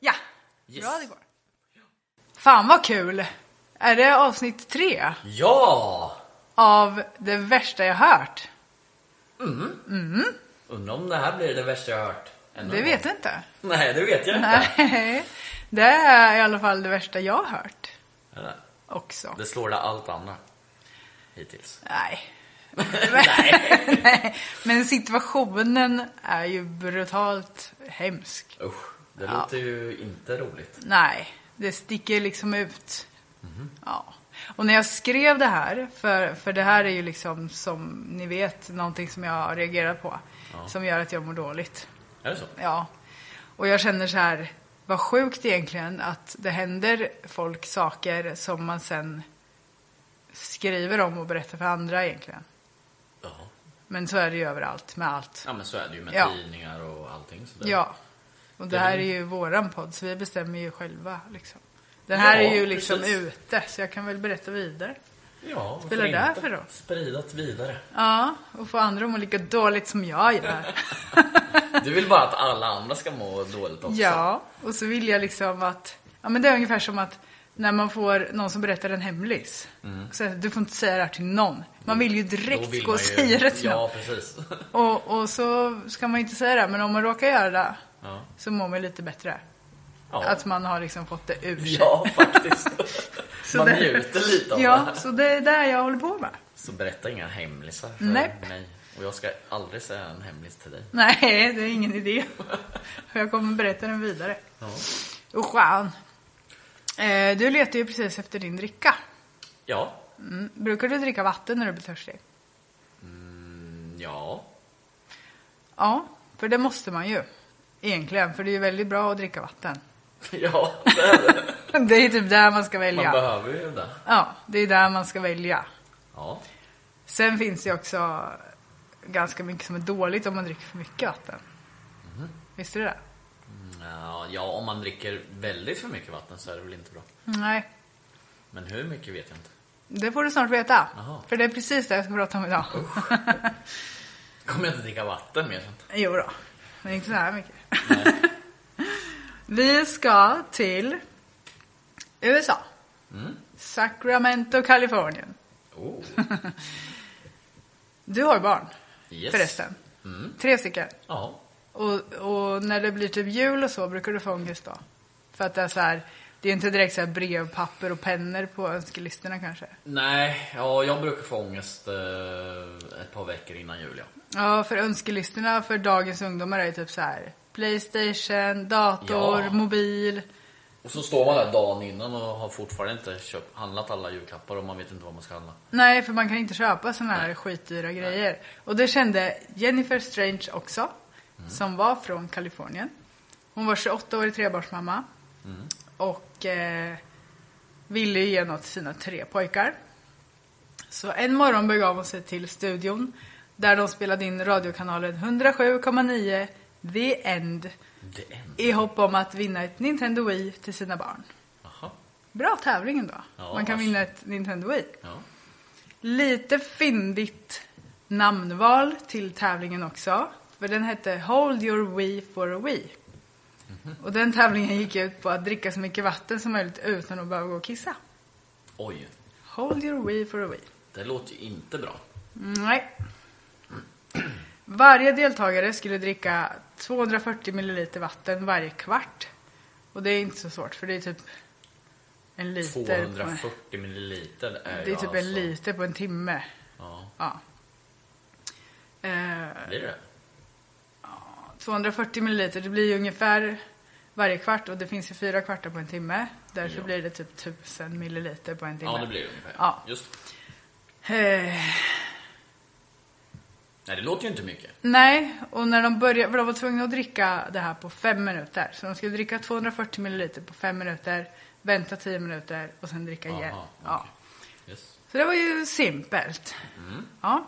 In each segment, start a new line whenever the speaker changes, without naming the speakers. Ja, bra det går. Fan vad kul! Är det avsnitt tre
Ja!
av det värsta jag hört?
Undrar om det här blir det värsta jag har hört. Än
Det
en
vet
gång.
jag inte.
Nej, det vet jag inte.
Nej, det är i alla fall det värsta jag har hört
Eller,
också.
Det slår det allt annat. Hittills.
Nej.
Nej.
Nej, men situationen är ju brutalt hemsk.
Usch, det låter ju inte roligt.
Nej, det sticker liksom ut. Ja. Och när jag skrev det här, för, för det här är ju liksom som ni vet någonting som jag har reagerat på. Som gör att jag mår dåligt.
Är det så?
Ja. Och jag känner så här, vad sjukt egentligen att det händer folk saker som man sen skriver om och berättar för andra egentligen.
Ja.
Men så är det ju överallt med allt.
Ja men så är det ju med
Ja.
tidningar och allting sådär.
Ja. Och det
Det
här är
blir-
ju våran podd, så vi bestämmer ju själva. Liksom. Den här
Ja,
är ju liksom
precis.
ute, så jag kan väl berätta vidare.
ja varför
Spelar det
inte?
här för roll?
Spridat vidare.
Ja, och få andra att må lika dåligt som jag gör.
Du vill bara att alla andra ska må dåligt också.
ja, och så vill jag liksom att... Ja, men det är ungefär som att när man får någon som berättar en hemlis. Mm. Så här, du får inte säga det här till någon. Man vill ju
Då
direkt
vill
gå
man
och
ju-
säga det till någon.
Ja, precis.
Och, och så ska man ju inte säga det, men om man råkar göra det
Ja.
så mår man lite bättre.
Ja.
Att man har liksom fått det ur sig.
Ja, faktiskt.
Så
Man
det-
njuter lite av det
Ja,
här.
så det är där jag håller på med.
Så berätta inga hemlisar för
Nej.
mig. Och jag ska aldrig säga en hemlis till dig.
Nej, det är ingen idé. Jag kommer berätta den vidare.
Ja.
Usch fan. Eh, Du letar ju precis efter din dricka.
Ja.
Mm. Brukar du dricka vatten när du blir törstig?
Mm, Ja.
Ja, för det måste man ju. Egentligen, för det är ju väldigt bra att dricka vatten.
Ja, det är det.
Det är ju typ där man ska
Man
välja.
behöver ju det.
Ja, det är där man ska välja.
Ja.
Sen finns det ju också ganska mycket som är dåligt om man dricker för mycket vatten.
Mhm.
Visste du det?
Mm, Ja, ja, om man dricker väldigt för mycket vatten så är det väl inte bra.
Nej,
Men hur mycket vet jag inte.
det får du snart veta.
Jaha.
För det är precis det jag ska prata om idag.
Kommer jag inte dricka vatten mer sen?
Jo då, men inte så här mycket. Vi ska till USA.
Mm.
Sacramento, Kalifornien.
Oh,
Du har ju barn
yes. Mm.
förresten. Tre stycken.
Ja.
Och, och när det blir typ jul och så brukar du få ångest då? För att det är så här, det är inte direkt så här brevpapper och pennor på önskelistorna kanske?
Nej, ja, jag brukar få ångest eh, ett par veckor innan jul, ja.
Ja, för önskelistorna för dagens ungdomar är ju typ så här Playstation, dator,
Ja.
mobil.
Och så står man där dagen innan och har fortfarande inte köpt, handlat alla julklappar och man vet inte vad man ska handla.
Nej, för man kan inte köpa såna här skitdyra grejer. Och det kände Jennifer Strange också, som var från Kalifornien. Hon var 28 år i trebarnsmamma och eh, ville ju ge något till sina tre pojkar. Så en morgon begav hon sig till studion Där de spelade in radiokanalen 107,9 The End.
Det är en.
I hopp om att vinna ett Nintendo Wii till sina barn.
Jaha.
Bra tävling ändå.
Ja,
Man kan
varsågod.
vinna ett Nintendo Wii.
Ja.
Lite fyndigt namnval till tävlingen också. För den hette Hold your Wii for a Wii. Och den tävlingen gick ut på att dricka så mycket vatten som möjligt utan att behöva gå och kissa.
Oj.
Hold your Wii for a Wii.
Det låter ju inte bra.
Nej. Varje deltagare skulle dricka 240 milliliter vatten varje kvart. Och det är inte så svårt för det är typ en liter på,
240 milliliter är
det är
ju
typ
alltså...
en liter på en timme.
Ja,
Ja. Eh,
blir det?
240 milliliter, det blir ju ungefär varje kvart och det finns ju fyra kvartar på en timme. Därför
Ja.
blir det typ 1000 milliliter på en timme.
Ja, det blir det ungefär.
Ja.
Just.
Eh,
Nej, det låter ju inte mycket.
Nej, och när de började, för de var tvungna att dricka det här på fem minuter. Så de skulle dricka 240 milliliter på fem minuter, vänta 10 minuter och sen dricka igen.
Aha,
Ja.
okej. Yes.
Så det var ju simpelt.
Mm.
Ja.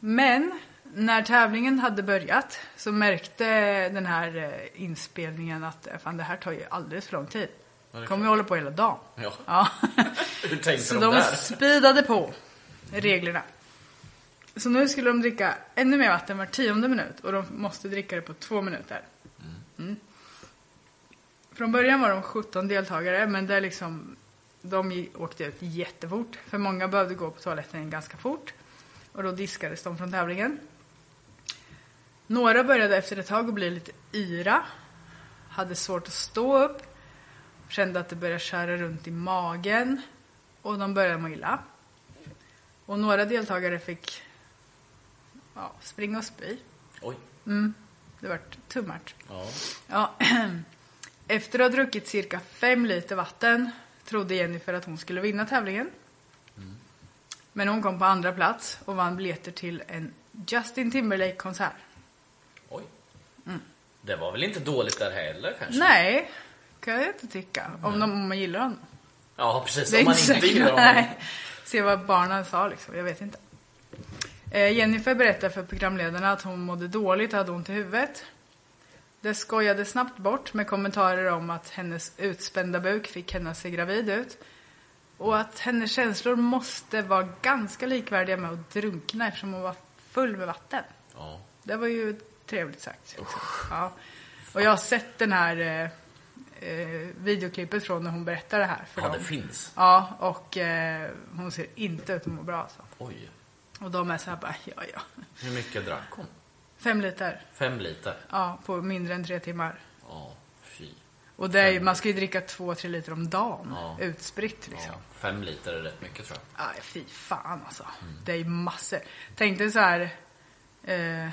Men när tävlingen hade börjat så märkte den här eh, inspelningen att eh, fan, det här tar ju alldeles för lång tid.
Ja, det är
kommer ju hålla på hela dagen.
Ja.
Ja.
Hur tänkte
så
de
de
där?
speedade på reglerna. Så nu skulle de dricka ännu mer vatten var tionde minut och de måste dricka det på två minuter.
Mm.
Mm. Från början var de 17 deltagare, men det är liksom, de gi- åkte ut jättefort. För många behövde gå på toaletten ganska fort. Och då diskades de från tävlingen. Några började efter ett tag att bli lite yra. Hade svårt att stå upp. Kände att det började skära runt i magen. Och de började må illa. Och några deltagare fick ja, springa och spy.
Oj.
Det vart too much.
Ja.
Ja. Efter att ha druckit cirka fem liter vatten trodde Jennifer att hon skulle vinna tävlingen. Men hon kom på andra plats och vann biljetter till en Justin Timberlake-konsert.
Oj. Mm. Det var väl inte dåligt där heller kanske?
Nej, kan jag inte tycka. Om, de, om man gillar honom.
Ja, precis. Om man inte
säkert.
gillar honom.
Nej. Se vad barnen sa liksom, jag vet inte. Eh, Jennifer berättade för programledarna att hon mådde dåligt och hade ont i huvudet. Det skojade snabbt bort med kommentarer om att hennes utspända buk fick henne att se gravid ut. Och att hennes känslor måste vara ganska likvärdiga med att drunkna eftersom hon var full med vatten.
Ja.
Det var ju trevligt sagt. liksom. Ja. Och jag har sett den här eh, eh, videoklippet från när hon berättar det här för
ja,
dem.
det finns.
Ja, och eh, hon ser inte ut att må bra alltså.
Oj.
Och de är så här bara, ja ja.
Hur mycket drack hon?
Fem liter,
Fem liter?
ja, på mindre än tre timmar.
Ja, fy.
Och det är ju, man ska ju dricka två, tre liter om dagen,
Ja.
utspritt liksom.
Ja. Fem liter är rätt mycket tror jag.
Aj, fy fan alltså.
Mm.
Det är ju massor. Tänk dig så här, eh,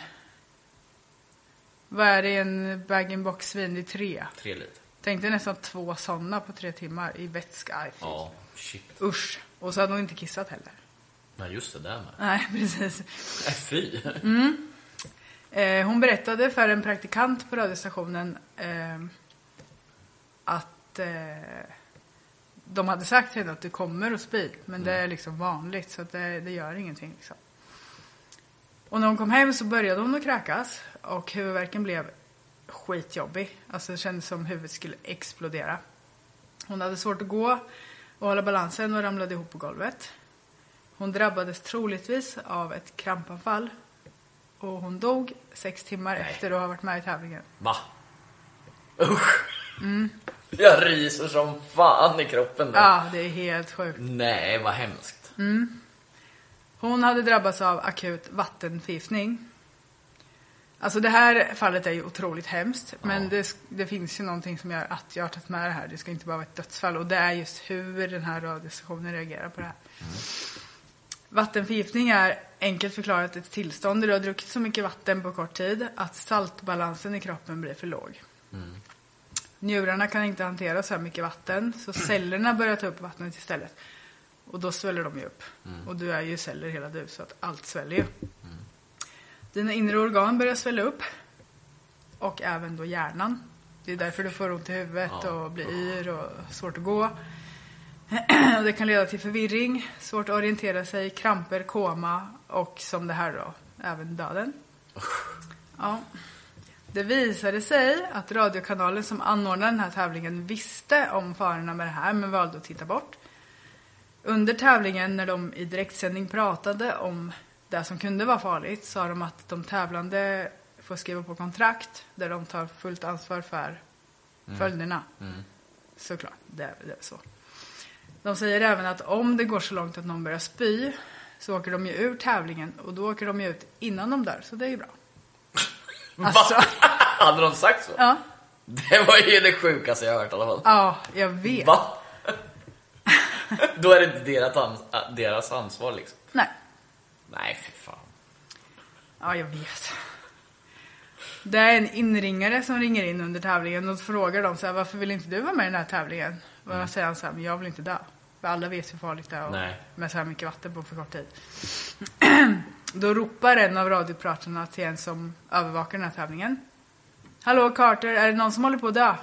vad är det i en bag-in-box svin? Det är tre.
Tre liter.
Tänk dig nästan två sådana på tre timmar i vätska. Aj, fy.
Ja, shit.
Usch. Och så hade hon inte kissat heller.
Nej, just det där med. Mm.
Nej, precis.
Nej, fy.
Eh, hon berättade för en praktikant på radiostationen eh, att eh, de hade sagt till henne att du kommer att spy, men det är liksom vanligt så att det, det gör ingenting. Liksom. Och när hon kom hem så började hon att kräkas och huvudvärken blev skitjobbig. Alltså det kändes som huvudet skulle explodera. Hon hade svårt att gå och hålla balansen och ramlade ihop på golvet. Hon drabbades troligtvis av ett krampanfall och hon dog sex timmar efter att ha varit med i tävlingen.
Va? Usch. Jag ryser som fan i kroppen. då.
Ja, det är helt sjukt.
Nej, vad hemskt.
Hon hade drabbats av akut vattenförgiftning. Alltså det här fallet är ju otroligt hemskt, men det, det finns ju någonting som gör att jag har tagit med det här. Det ska inte bara vara ett dödsfall och det är just hur den här radiostationen reagerar på det här. Vattenförgiftning är enkelt förklarat ett tillstånd där du har druckit så mycket vatten på kort tid att saltbalansen i kroppen blir för låg. Njurarna kan inte hantera så här mycket vatten så cellerna börjar ta upp vattnet istället. Och då sväller de ju upp. Och du är ju celler hela du så att allt sväller ju. Dina inre organ börjar svälla upp. Och även då hjärnan. Det är därför du får ont i huvudet och blir yr och svårt att gå. Och det kan leda till förvirring, svårt att orientera sig, kramper, koma och som det här då, även döden. Ja. Det visade sig att radiokanalen som anordnade den här tävlingen visste om farorna med det här men valde att titta bort. Under tävlingen när de i direktsändning pratade om det som kunde vara farligt sa de att de tävlande får skriva på kontrakt där de tar fullt ansvar för följderna. Såklart, det är det är så. De säger även att om det går så långt att någon börjar spy så åker de ju ur tävlingen och då åker de ju ut innan de dör, så det är ju bra. Alltså.
Va? Hade de sagt så?
Ja,
Det var ju det sjukaste jag har hört i alla fall.
ja jag vet.
Va? Då är det inte deras, ans- äh, deras ansvar liksom.
Nej,
Nej, för fan.
ja jag vet. Det är en inringare som ringer in under tävlingen och frågar dem så här, varför vill inte du vara med i den här tävlingen? Och då säger han så här, men jag vill inte dö. För alla vet hur farligt det är och
Mm. Nej.
med så här mycket vatten på för kort tid. Då ropar en av radiopratarna till en som övervakar den här tävlingen. Hallå Carter, är det någon som håller på att dö?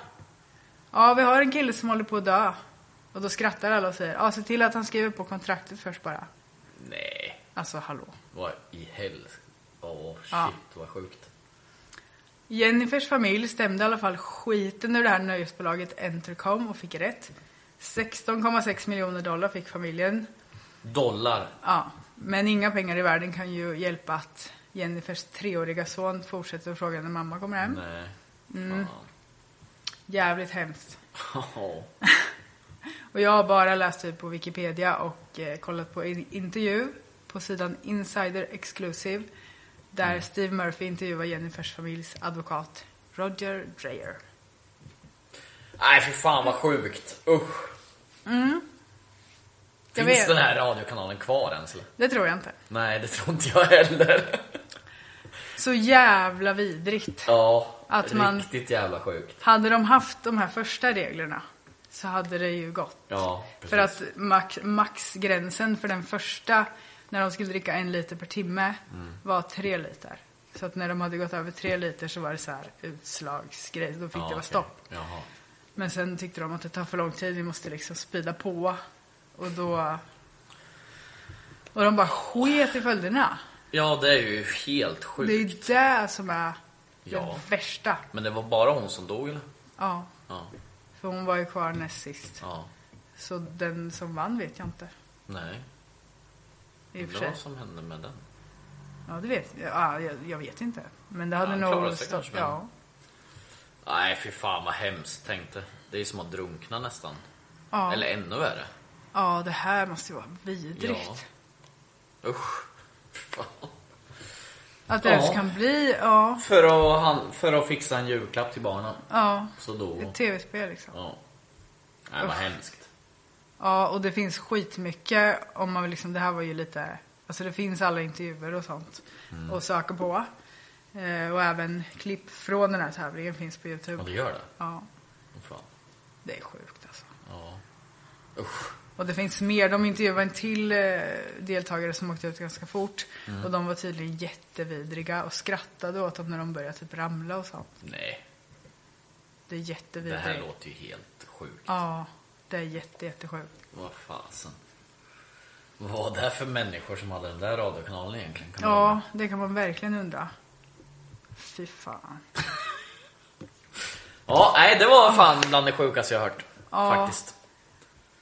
Ja, vi har en kille som håller på att dö. Och då skrattar alla och säger, ja se till att han skriver på kontraktet först bara.
Nej,
Alltså hallå.
vad i helvete. Åh shit
Ja.
vad sjukt.
Jennifers familj stämde i alla fall skiten ur det här nöjesbolaget Entercom och fick rätt. 16,6 miljoner dollar fick familjen.
Dollar.
Ja, men inga pengar i världen kan ju hjälpa att Jennifers treåriga son fortsätter att fråga när mamma kommer hem.
Nej.
Mm. Jävligt hemskt.
Fan.
Och jag har bara läst typ på Wikipedia och eh, kollat på en intervju på sidan Insider Exclusive där Steve Murphy intervjuar Jennifers familjs advokat Roger Dreyer.
Nej, för fan vad sjukt. Usch.
Mm. Jag
Finns
vet.
den här radiokanalen kvar ens? eller?
Det tror jag inte.
Nej, det tror inte jag heller.
Så jävla vidrigt.
Ja,
Att man-
riktigt jävla sjukt.
Hade de haft de här första reglerna så hade det ju gått.
Ja, precis.
för att max, maxgränsen för den första, när de skulle dricka en liter per timme,
Mm.
var tre liter. Så att när de hade gått över tre liter så var det så här utslagsgrej, då fick det
Ja,
vara
okej.
stopp.
Jaha.
Men sen tyckte de att det tar för lång tid, vi måste liksom spida på. Och då... Och de bara sket i följderna.
Ja, det är ju helt sjukt.
Det är ju det som är
Ja.
det värsta.
Men det var bara hon som dog eller?
Ja,
Ja,
för hon var ju kvar näst sist.
ja.
Så den som vann vet jag inte.
Nej,
I och för
undrar
sig.
vad som hände med den.
Ja, det vet ja, jag. Jag vet inte. Men det hade
han klarade
nog...
sig
stått-
kanske, men-
ja.
Nej, fy fan vad hemskt tänkte. Det är som att drunkna nästan.
Ja.
Eller ännu värre.
ja, det här måste ju vara vidrigt.
Ja. Usch. Fy fan.
Att det
Ja.
ens kan bli... Ja.
För att, han, för att fixa en julklapp till barnen.
ja.
Så dog hon.
Ett tv-spel liksom.
Ja. Nej, vad hemskt.
Ja, och det finns skitmycket om man vill liksom... Det här var ju lite... Alltså det finns alla intervjuer och sånt
Mm.
att söka på. Eh, och även klipp från den här tävlingen finns på
Ja, det
Youtube.
gör det.
Ja,
Åh, Fan.
det är sjukt alltså.
Ja. Usch.
Och det finns mer. De intervjuade en till eh, deltagare som åkte ut ganska fort.
Mm.
Och de var tydligen jättevidriga och skrattade åt dem när de började typ ramla och sånt.
Nej,
Det är
det
jättevidrigt.
här låter ju helt sjukt.
Ja, det är jätte, jättesjukt.
Vad fasen. Vad var det för människor som hade den där radiokanalen egentligen? Kan man
Ja, det kan man verkligen undra. Fy fan.
Ja, nej det var fan bland det sjukaste jag hört.
Ja.
Faktiskt.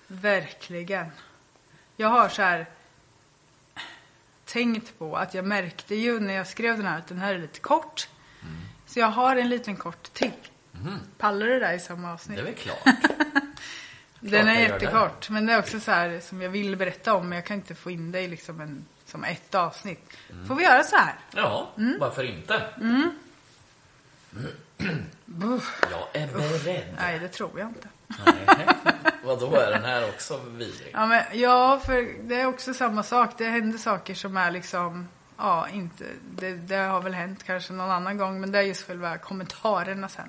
Verkligen. Jag har så här tänkt på att jag märkte ju när jag skrev den här att den här är lite kort.
Mm.
Så jag har en liten kort till. Pallar du det där i samma avsnitt?
Det är väl klart.
Den är
jag gör
jättekort, men det är också så här som jag vill berätta om, men jag kan inte få in det i liksom en, som ett avsnitt.
Mm.
Får vi göra så här?
Ja,
Mm.
varför inte? Jag är beredd.
Nej, det tror jag inte.
Nej. Vadå, är den här också vidrig?
Ja, men, ja, för det är också samma sak. Det händer saker som är liksom, ja, inte, det, det har väl hänt kanske någon annan gång, men det är just själva kommentarerna sen.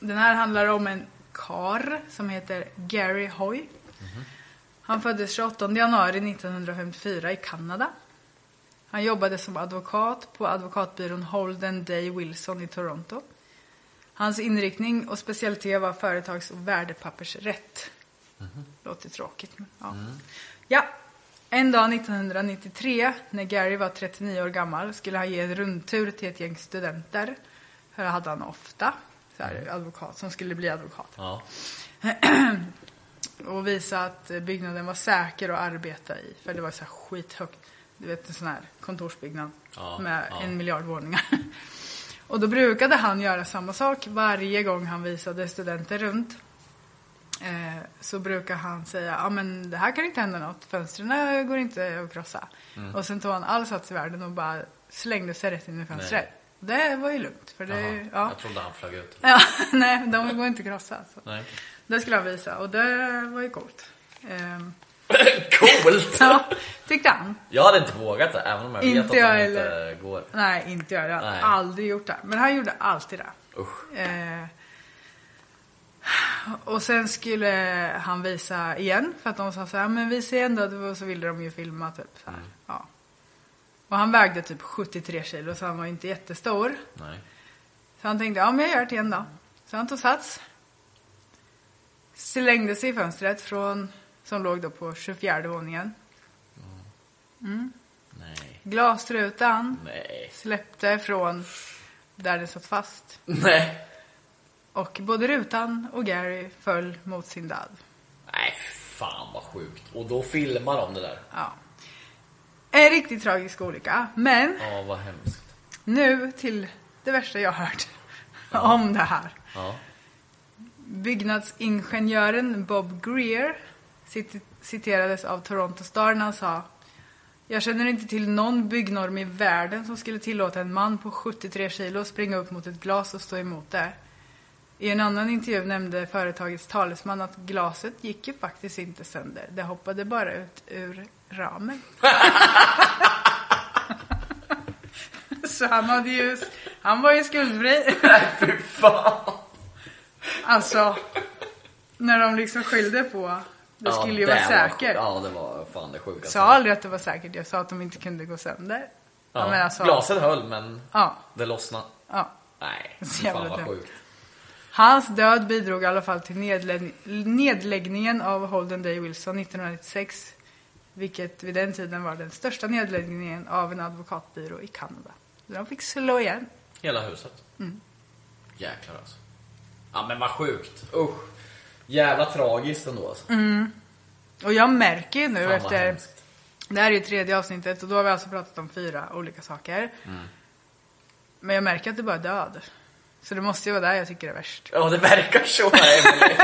Den här handlar om en kar som heter Gary Hoy. Han föddes 28 januari 1954 i Kanada. Han jobbade som advokat på advokatbyrån Holden Day Wilson i Toronto. Hans inriktning och specialitet var företags och värdepappersrätt. Låter tråkigt, men ja. Ja, en dag 1993 när Gary var 39 år gammal skulle han ge en rundtur till ett gäng studenter. Här hade han ofta så här, advokat som skulle bli advokat
Ja.
och visa att eh, byggnaden var säker att arbeta i. För det var så här skithögt. Du vet en sån här kontorsbyggnad
Ja,
med
ja.
en miljard våningar. Och då brukade han göra samma sak varje gång han visade studenter runt. Eh, så brukar han säga, ja men det här kan inte hända något, fönstren går inte att krossa.
Mm.
Och sen tog han all sats i världen och bara slängde sig rätt in i fönstret. Det var ju lugnt, för det,
Jaha.
ja.
Jag trodde han flög ut.
ja. Nej, de går inte att krossa. Så.
Nej.
Det skulle han visa och det var ju coolt. Ehm,
Coolt!
ja, tyckte han.
Jag hade inte vågat det, även om jag vet
Inte
att de
jag
inte
heller.
går.
Nej, inte jag. Jag
Nej.
har aldrig gjort det. Men han gjorde alltid det.
Usch.
Ehm, och sen skulle han visa igen för att de sa så här, men visa igen då. Och så ville de ju filma typ. Så här. Ja. Och han vägde typ 73 kilo så han var ju inte jättestor.
Nej.
Så han tänkte, ja men jag gör det igen då. Så han tog sats. Slängde sig i fönstret från, som låg då på 24 våningen.
Nej.
Glasrutan
Nej.
släppte från där den satt fast.
Nej.
Och både rutan och Gary föll mot sin död.
Nej, fan vad sjukt. Och då filmar de det där.
Ja. En riktigt tragisk olycka. Men
Ja, vad hemskt.
nu till det värsta jag hört om det här.
Ja.
Byggnadsingenjören Bob Greer cit- citerades av Toronto Star när han sa Jag känner inte till någon byggnorm i världen som skulle tillåta en man på 73 kilo att springa upp mot ett glas och stå emot det. I en annan intervju nämnde företagets talesman att glaset gick ju faktiskt inte sönder. Det hoppade bara ut ur ramen. Så han, hade ju, han var ju skuldfri.
Fy fan.
Alltså, när de liksom skyllde på det
Ja,
skulle ju
det
vara
var-
säkert.
Ja, det var fan det
Jag
sjukaste.
sa aldrig att det var säkert, jag sa att de inte kunde gå sönder. Ja,
Ja.
men alltså,
Glaset höll, men
Ja.
det lossnade.
Ja.
Nej,
Så
fy fan
jävla
vad
dumt.
sjukt.
Hans död bidrog i alla fall till nedlä- nedläggningen av Holden Day Wilson 1996. Vilket vid den tiden var den största nedläggningen av en advokatbyrå i Kanada. De fick slå igen.
Hela huset.
Mm.
Jäklar alltså. Ja men vad sjukt. Usch. Jävla tragiskt ändå alltså.
Mm. Och jag märker ju nu
Fan vad
efter...
hemskt.
Det här är ju tredje avsnittet och då har vi alltså pratat om fyra olika saker.
Mm.
Men jag märker att det bara är död. Så det måste ju vara där jag tycker det är värst.
Ja det verkar så Emily.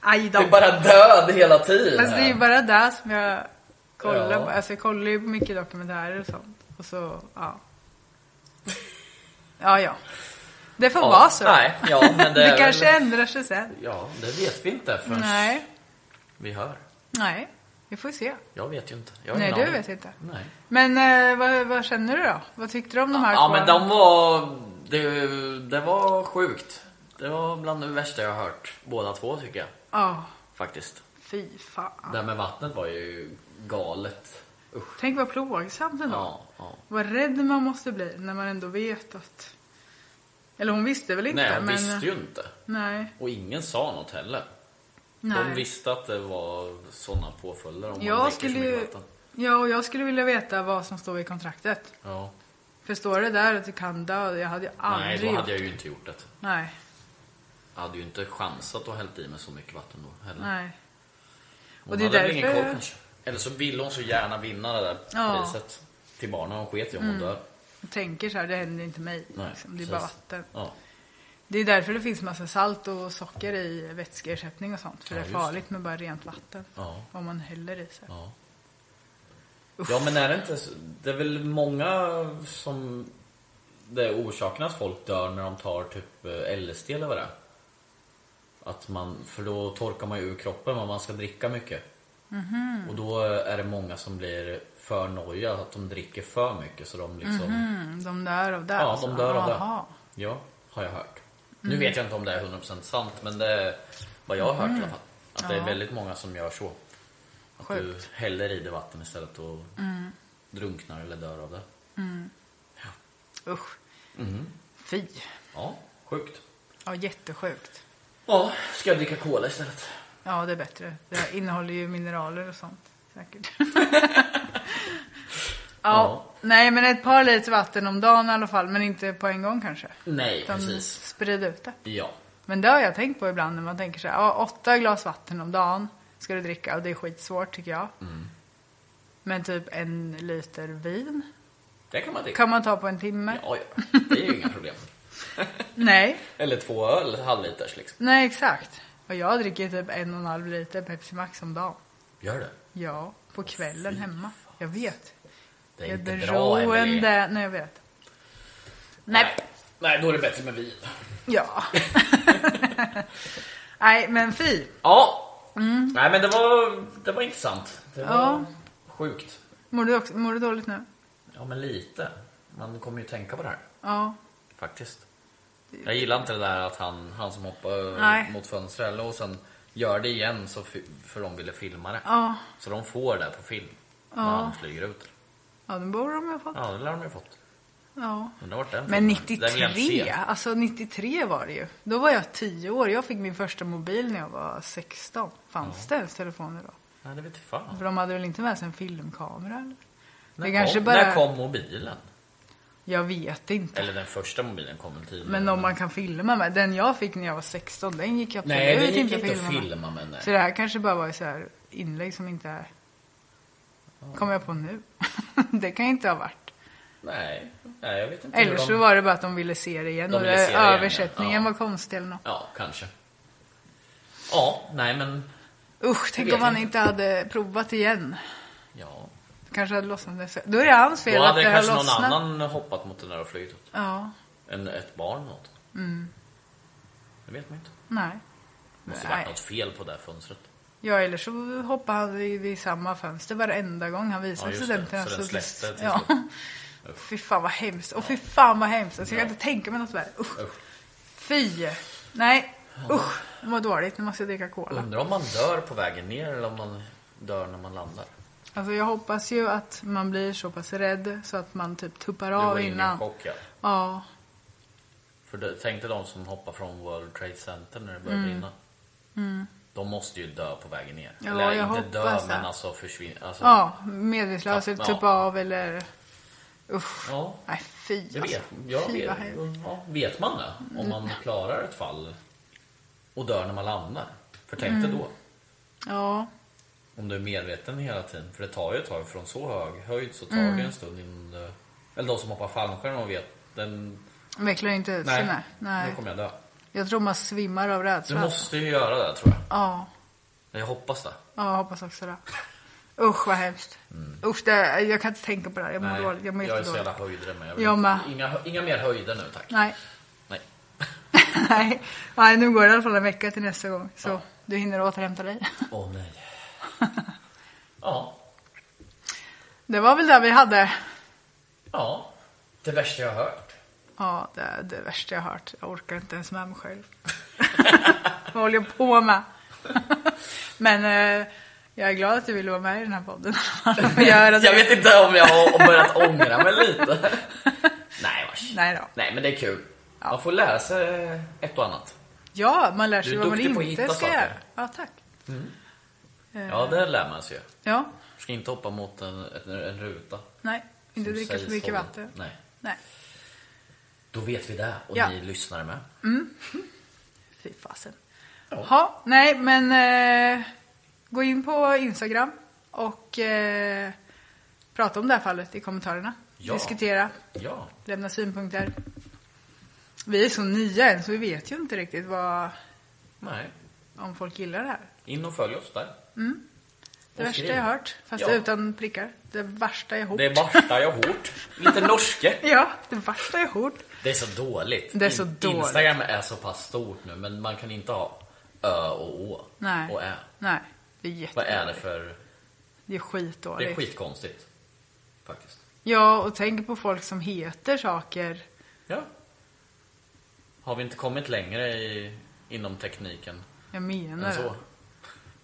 Aj
Det
då.
är bara död hela tiden.
Alltså det är ju bara det som jag kollar
Ja.
på. Alltså jag kollar ju på mycket dokumentärer och sånt. Och så, ja. Ja, ja. Det får
Ja,
vara så.
nej, ja, men det är väl-
kanske ändrar sig sen.
Ja, det vet vi inte förrän
Nej,
vi hör.
nej. Vi får se.
Jag vet ju inte. Jag har
Nej,
ingen
du
aning.
vet inte.
Nej.
Men eh, vad, vad känner du då? Vad tyckte du om de här
Ja
två?
men de var... Det, det var sjukt. Det var bland det värsta jag har hört. Båda två tycker jag.
Ja,
Faktiskt.
fy fan.
Det här med vattnet var ju galet. Usch.
Tänk vad plågsamt ändå.
Ja, ja.
Vad rädd man måste bli när man ändå vet att... Eller hon visste väl inte?
Nej, hon
men...
visste ju inte.
Nej,
Och ingen sa något heller.
nej.
De visste att det var sådana påföljder om man
jag
dricker
skulle
så mycket
ju...
vatten.
Ja, och jag skulle vilja veta vad som står i kontraktet.
Ja.
För står det där att du kan dö, jag hade ju
Nej,
aldrig...
då hade
gjort-
jag ju inte gjort det.
Nej,
Jag hade ju inte chansat att hällt i mig så mycket vatten då heller.
nej.
Hon
Och det är
hade väl ingen
därför-
koll kanske. Eller så ville hon så gärna vinna det där
Ja. Mm.
priset till barnen. Hon sket i om hon dör.
och tänker så här, det händer inte mig.
Nej,
liksom. Det är
precis.
bara vatten.
Ja.
Det är därför det finns massa salt och socker i vätskeersättning och sånt. För
Ja,
det är
just det.
farligt med bara rent vatten.
Ja.
Om man häller i sig.
Ja. ja men är det inte så- Det är väl många som Det är orsaken att folk dör när de tar typ eh, LSD eller vad det är. Att man, för då torkar man ju ur kroppen om man ska dricka mycket. Och då är det många som blir för noja, att de dricker för mycket så de liksom
Mm, de dör av det.
Ja,
alltså.
de dör av
Jaha.
det. Ja, har jag hört. Nu vet jag inte om det är 100% sant, men det är vad jag har hört i alla fall. Att det är väldigt många som gör så. Att du
Sjukt.
häller i det vatten istället och drunknar eller dör av det.
Usch.
Mm.
Fy.
Ja, sjukt.
Ja, jättesjukt.
Ja, ska jag dricka cola istället?
Ja, det är bättre. Det innehåller ju mineraler och sånt. Säkert. ja.
Ja.
Nej, men ett par liter vatten om dagen i alla fall. Men inte på en gång kanske.
Nej,
Utan
precis.
sprid ut det.
Ja.
Men det har jag tänkt på ibland när man tänker så här, ja, åtta glas vatten om dagen ska du dricka och det är skitsvårt tycker jag.
Mm.
Men typ en liter vin
Det kan man dricka.
kan man ta på en timme.
Ja, ja. Det är ju inga problem.
Nej,
Eller två öl, halvliters liksom.
nej exakt. Och jag dricker typ en och en halv liter Pepsi Max om dagen.
Gör det.
Ja, på kvällen hemma. Jag vet.
Det är
Jag är
inte bra, Emelie.
beroende. Nej, jag vet. Nej.
Nej, då är det bättre med vin.
Ja. nej, men fy.
Ja. Nej men det var, det var intressant. Det var
Mm. Ja.
sjukt.
Mår du, också, mår du dåligt nu?
Ja men lite. Man kommer ju tänka på det här
Ja.
faktiskt. Jag gillar inte det där att han, han som hoppar
Nej.
mot fönstret och sen gör det igen så fi- för de ville filma det.
Ja.
Så de får det på film när han flyger ut.
Ja, den borde de ha fått.
Ja det lär de ju fått.
Ja.
Undrar vart den
Men
filmen- den vill jag inte
93,
se.
alltså 93 var det ju. Då var jag 10 år. Jag fick min första mobil när jag var 16. Fanns det ens telefoner då?
Nej det vet fan.
För de hade väl inte med sig en filmkamera eller?
När,
kanske
kom,
bara-
när kom mobilen?
Jag vet inte.
Eller den första mobilen kom väl tidigare.
Men om man kan filma med. Den jag fick när jag var 16, den gick absolut
Nej det gick
inte
inte att
med.
filma med. Nej.
Så det här kanske bara var så här inlägg som inte är... Kommer jag på nu. det kan ju inte ha varit.
Nej. Nej jag vet inte. hur
Eller
de-
så var det bara att de ville se det igen.
De
och
ville se det
det,
igen, ja.
översättningen
Ja.
var konstig eller något.
Ja, kanske. Ja, nej men...
Usch, tänk
vet
om han
inte.
inte hade provat igen.
Ja.
Kanske hade lossnat nästa. Då är det hans fel
Då
att
hade
det
det
har
kanske någon
lossnat.
annan hoppat mot den där och flugit åt.
Ja,
Än ett barn eller något.
Mm.
Det vet man inte.
nej.
Det måste
Nej.
varit något fel på det här fönstret.
Ja, eller så hoppade han vid, vid samma fönster varenda gång han visade
Ja, just
studenten.
det. Så den släppte till
ja. Fy fan vad hemskt. Och fy fan vad hemskt. Alltså, jag kan
Ja.
inte tänka mig något värre. Usch.
Usch.
Fy. Nej. Usch. Jag mår dåligt. Nu måste jag dricka cola.
Undrar om man dör på vägen ner eller om man dör när man landar.
Alltså jag hoppas ju att man blir så pass rädd så att man typ tuppar
Du
av
går in i en
innan.
chock ja.
Ja.
För det, tänk dig de som hoppar från World Trade Center när det börjar brinna. De måste ju dö på vägen ner.
Mm. Ja,
eller
jag
inte dö
hoppas det.
men alltså försvinna. Alltså,
Ja, medvetslös
Ja.
eller tuppa av eller... Usch.
Ja.
Nej, fy
Jag vet, jag
Alltså, Fy,
vet,
vad hemskt.
ja, vet man det? Om man klarar ett fall och dör när man landar. För tänk
Mm.
dig då,
Ja,
om du är medveten hela tiden. För det tar ju ett tag, från så hög höjd så tar
Mm.
det en stund innan du... Eller de som hoppar fallskärm och vet, den...
vecklar inte ut sig.
Nej,
Nej. nej.
nu kommer jag dö.
Jag tror man svimmar av
Du
rädsla.
måste ju göra det tror jag.
Ja,
Men Jag hoppas det.
ja, jag hoppas också det. Usch vad hemskt. Usch, det, jag kan inte tänka på det här. Jag mår
Mm. Nej,
dåligt. Jag mår
jag är så
jättedåligt.
jävla höjdrädd men jag
Jag
vill
med.
inte, inga, hö- inga mer höjder nu tack.
Nej.
Nej.
nej. Nej, nu går det i alla fall en vecka till nästa gång. Så
Ja.
du hinner återhämta dig.
Åh nej. Ja,
Det var väl det vi hade.
ja. Det värsta jag har hört.
Ja, det är det värsta jag har hört. Jag orkar inte ens med mig själv. Vad håller jag på med? Men eh, jag är glad att du ville vara med i den här podden. Och göra det.
Jag vet inte om jag har börjat ångra mig lite. Nej vars.
Nej då.
Nej men det är kul. Man får lära sig ett och annat.
Ja, man lär sig
Du är
vad man
duktig på att
inte
hitta
ska
saker.
göra. Ja, tack. Eh.
Ja det lär man sig ju.
Ja,
Ska inte hoppa mot en, en, en ruta.
nej. Inte
som
dricka för
sägs
mycket
hålla-
vatten.
Nej.
Nej,
Då vet vi det och
Ja.
ni lyssnar med.
fy fasen. Ja, nej men eh, gå in på Instagram och eh, prata om det här fallet i kommentarerna.
Ja.
diskutera,
Ja.
lämna synpunkter. Vi är så nya än så vi vet ju inte riktigt vad,
Nej.
om folk gillar det här.
In och följ oss där.
Mm. Det
Och
värsta
skriv.
jag hört, fast
Ja.
utan prickar. Det värsta jag hört.
Det varslar jag hårt. Lite norske.
Ja, det värsta jag hört.
Det är så dåligt.
Det är så
In-
dåligt.
Instagram är så pass stort nu men man kan inte ha ö och å
Nej.
och ä.
Nej, det är
Vad
jättedåligt.
är det för...
Det är
Det
skitdåligt.
är skitkonstigt. Faktiskt.
Ja, och tänk på folk som heter saker.
Ja. Har vi inte kommit längre i, inom tekniken
Jag
än
menar det.
så?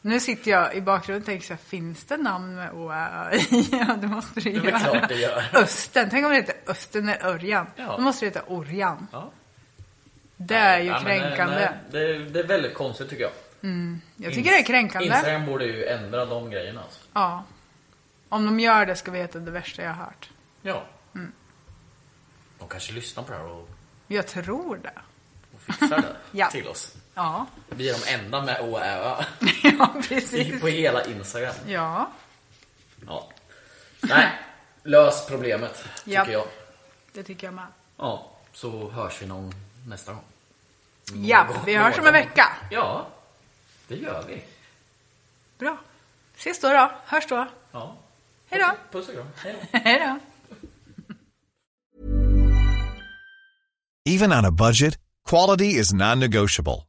Nu sitter jag i bakgrunden och tänker så här, finns det namn med å, ä, ö, i? Ja, det måste det
Det är
göra.
väl klart det gör.
Östen, tänk om det heter Östen eller Örjan.
Ja.
Då måste det heta Orjan.
Ja.
Det är ju
Ja, men,
kränkande.
nej, det, är- det är väldigt konstigt tycker jag.
Jag tycker det är kränkande.
Instagram borde ju ändra de grejerna alltså.
Ja. Om de gör det ska vi heta det värsta jag har hört.
Ja. Mm. De kanske lyssnar på det här och,
Jag tror det.
och fixar det
Ja.
till oss.
Ja,
Vi är de enda med å, ä, ö
ja
i-
precis.
på hela Instagram.
Ja.
Ja. Nej, lös problemet tycker
Japp.
jag.
Det tycker jag med.
Ja, så hörs vi någon nästa gång.
Ja, vi hörs om en vecka.
Ja, det gör vi.
Bra. Ses då då. Hörs då.
Ja.
Hej då.
Puss och kram. Hej då.
Hej då.
Even on a budget, quality is non-negotiable.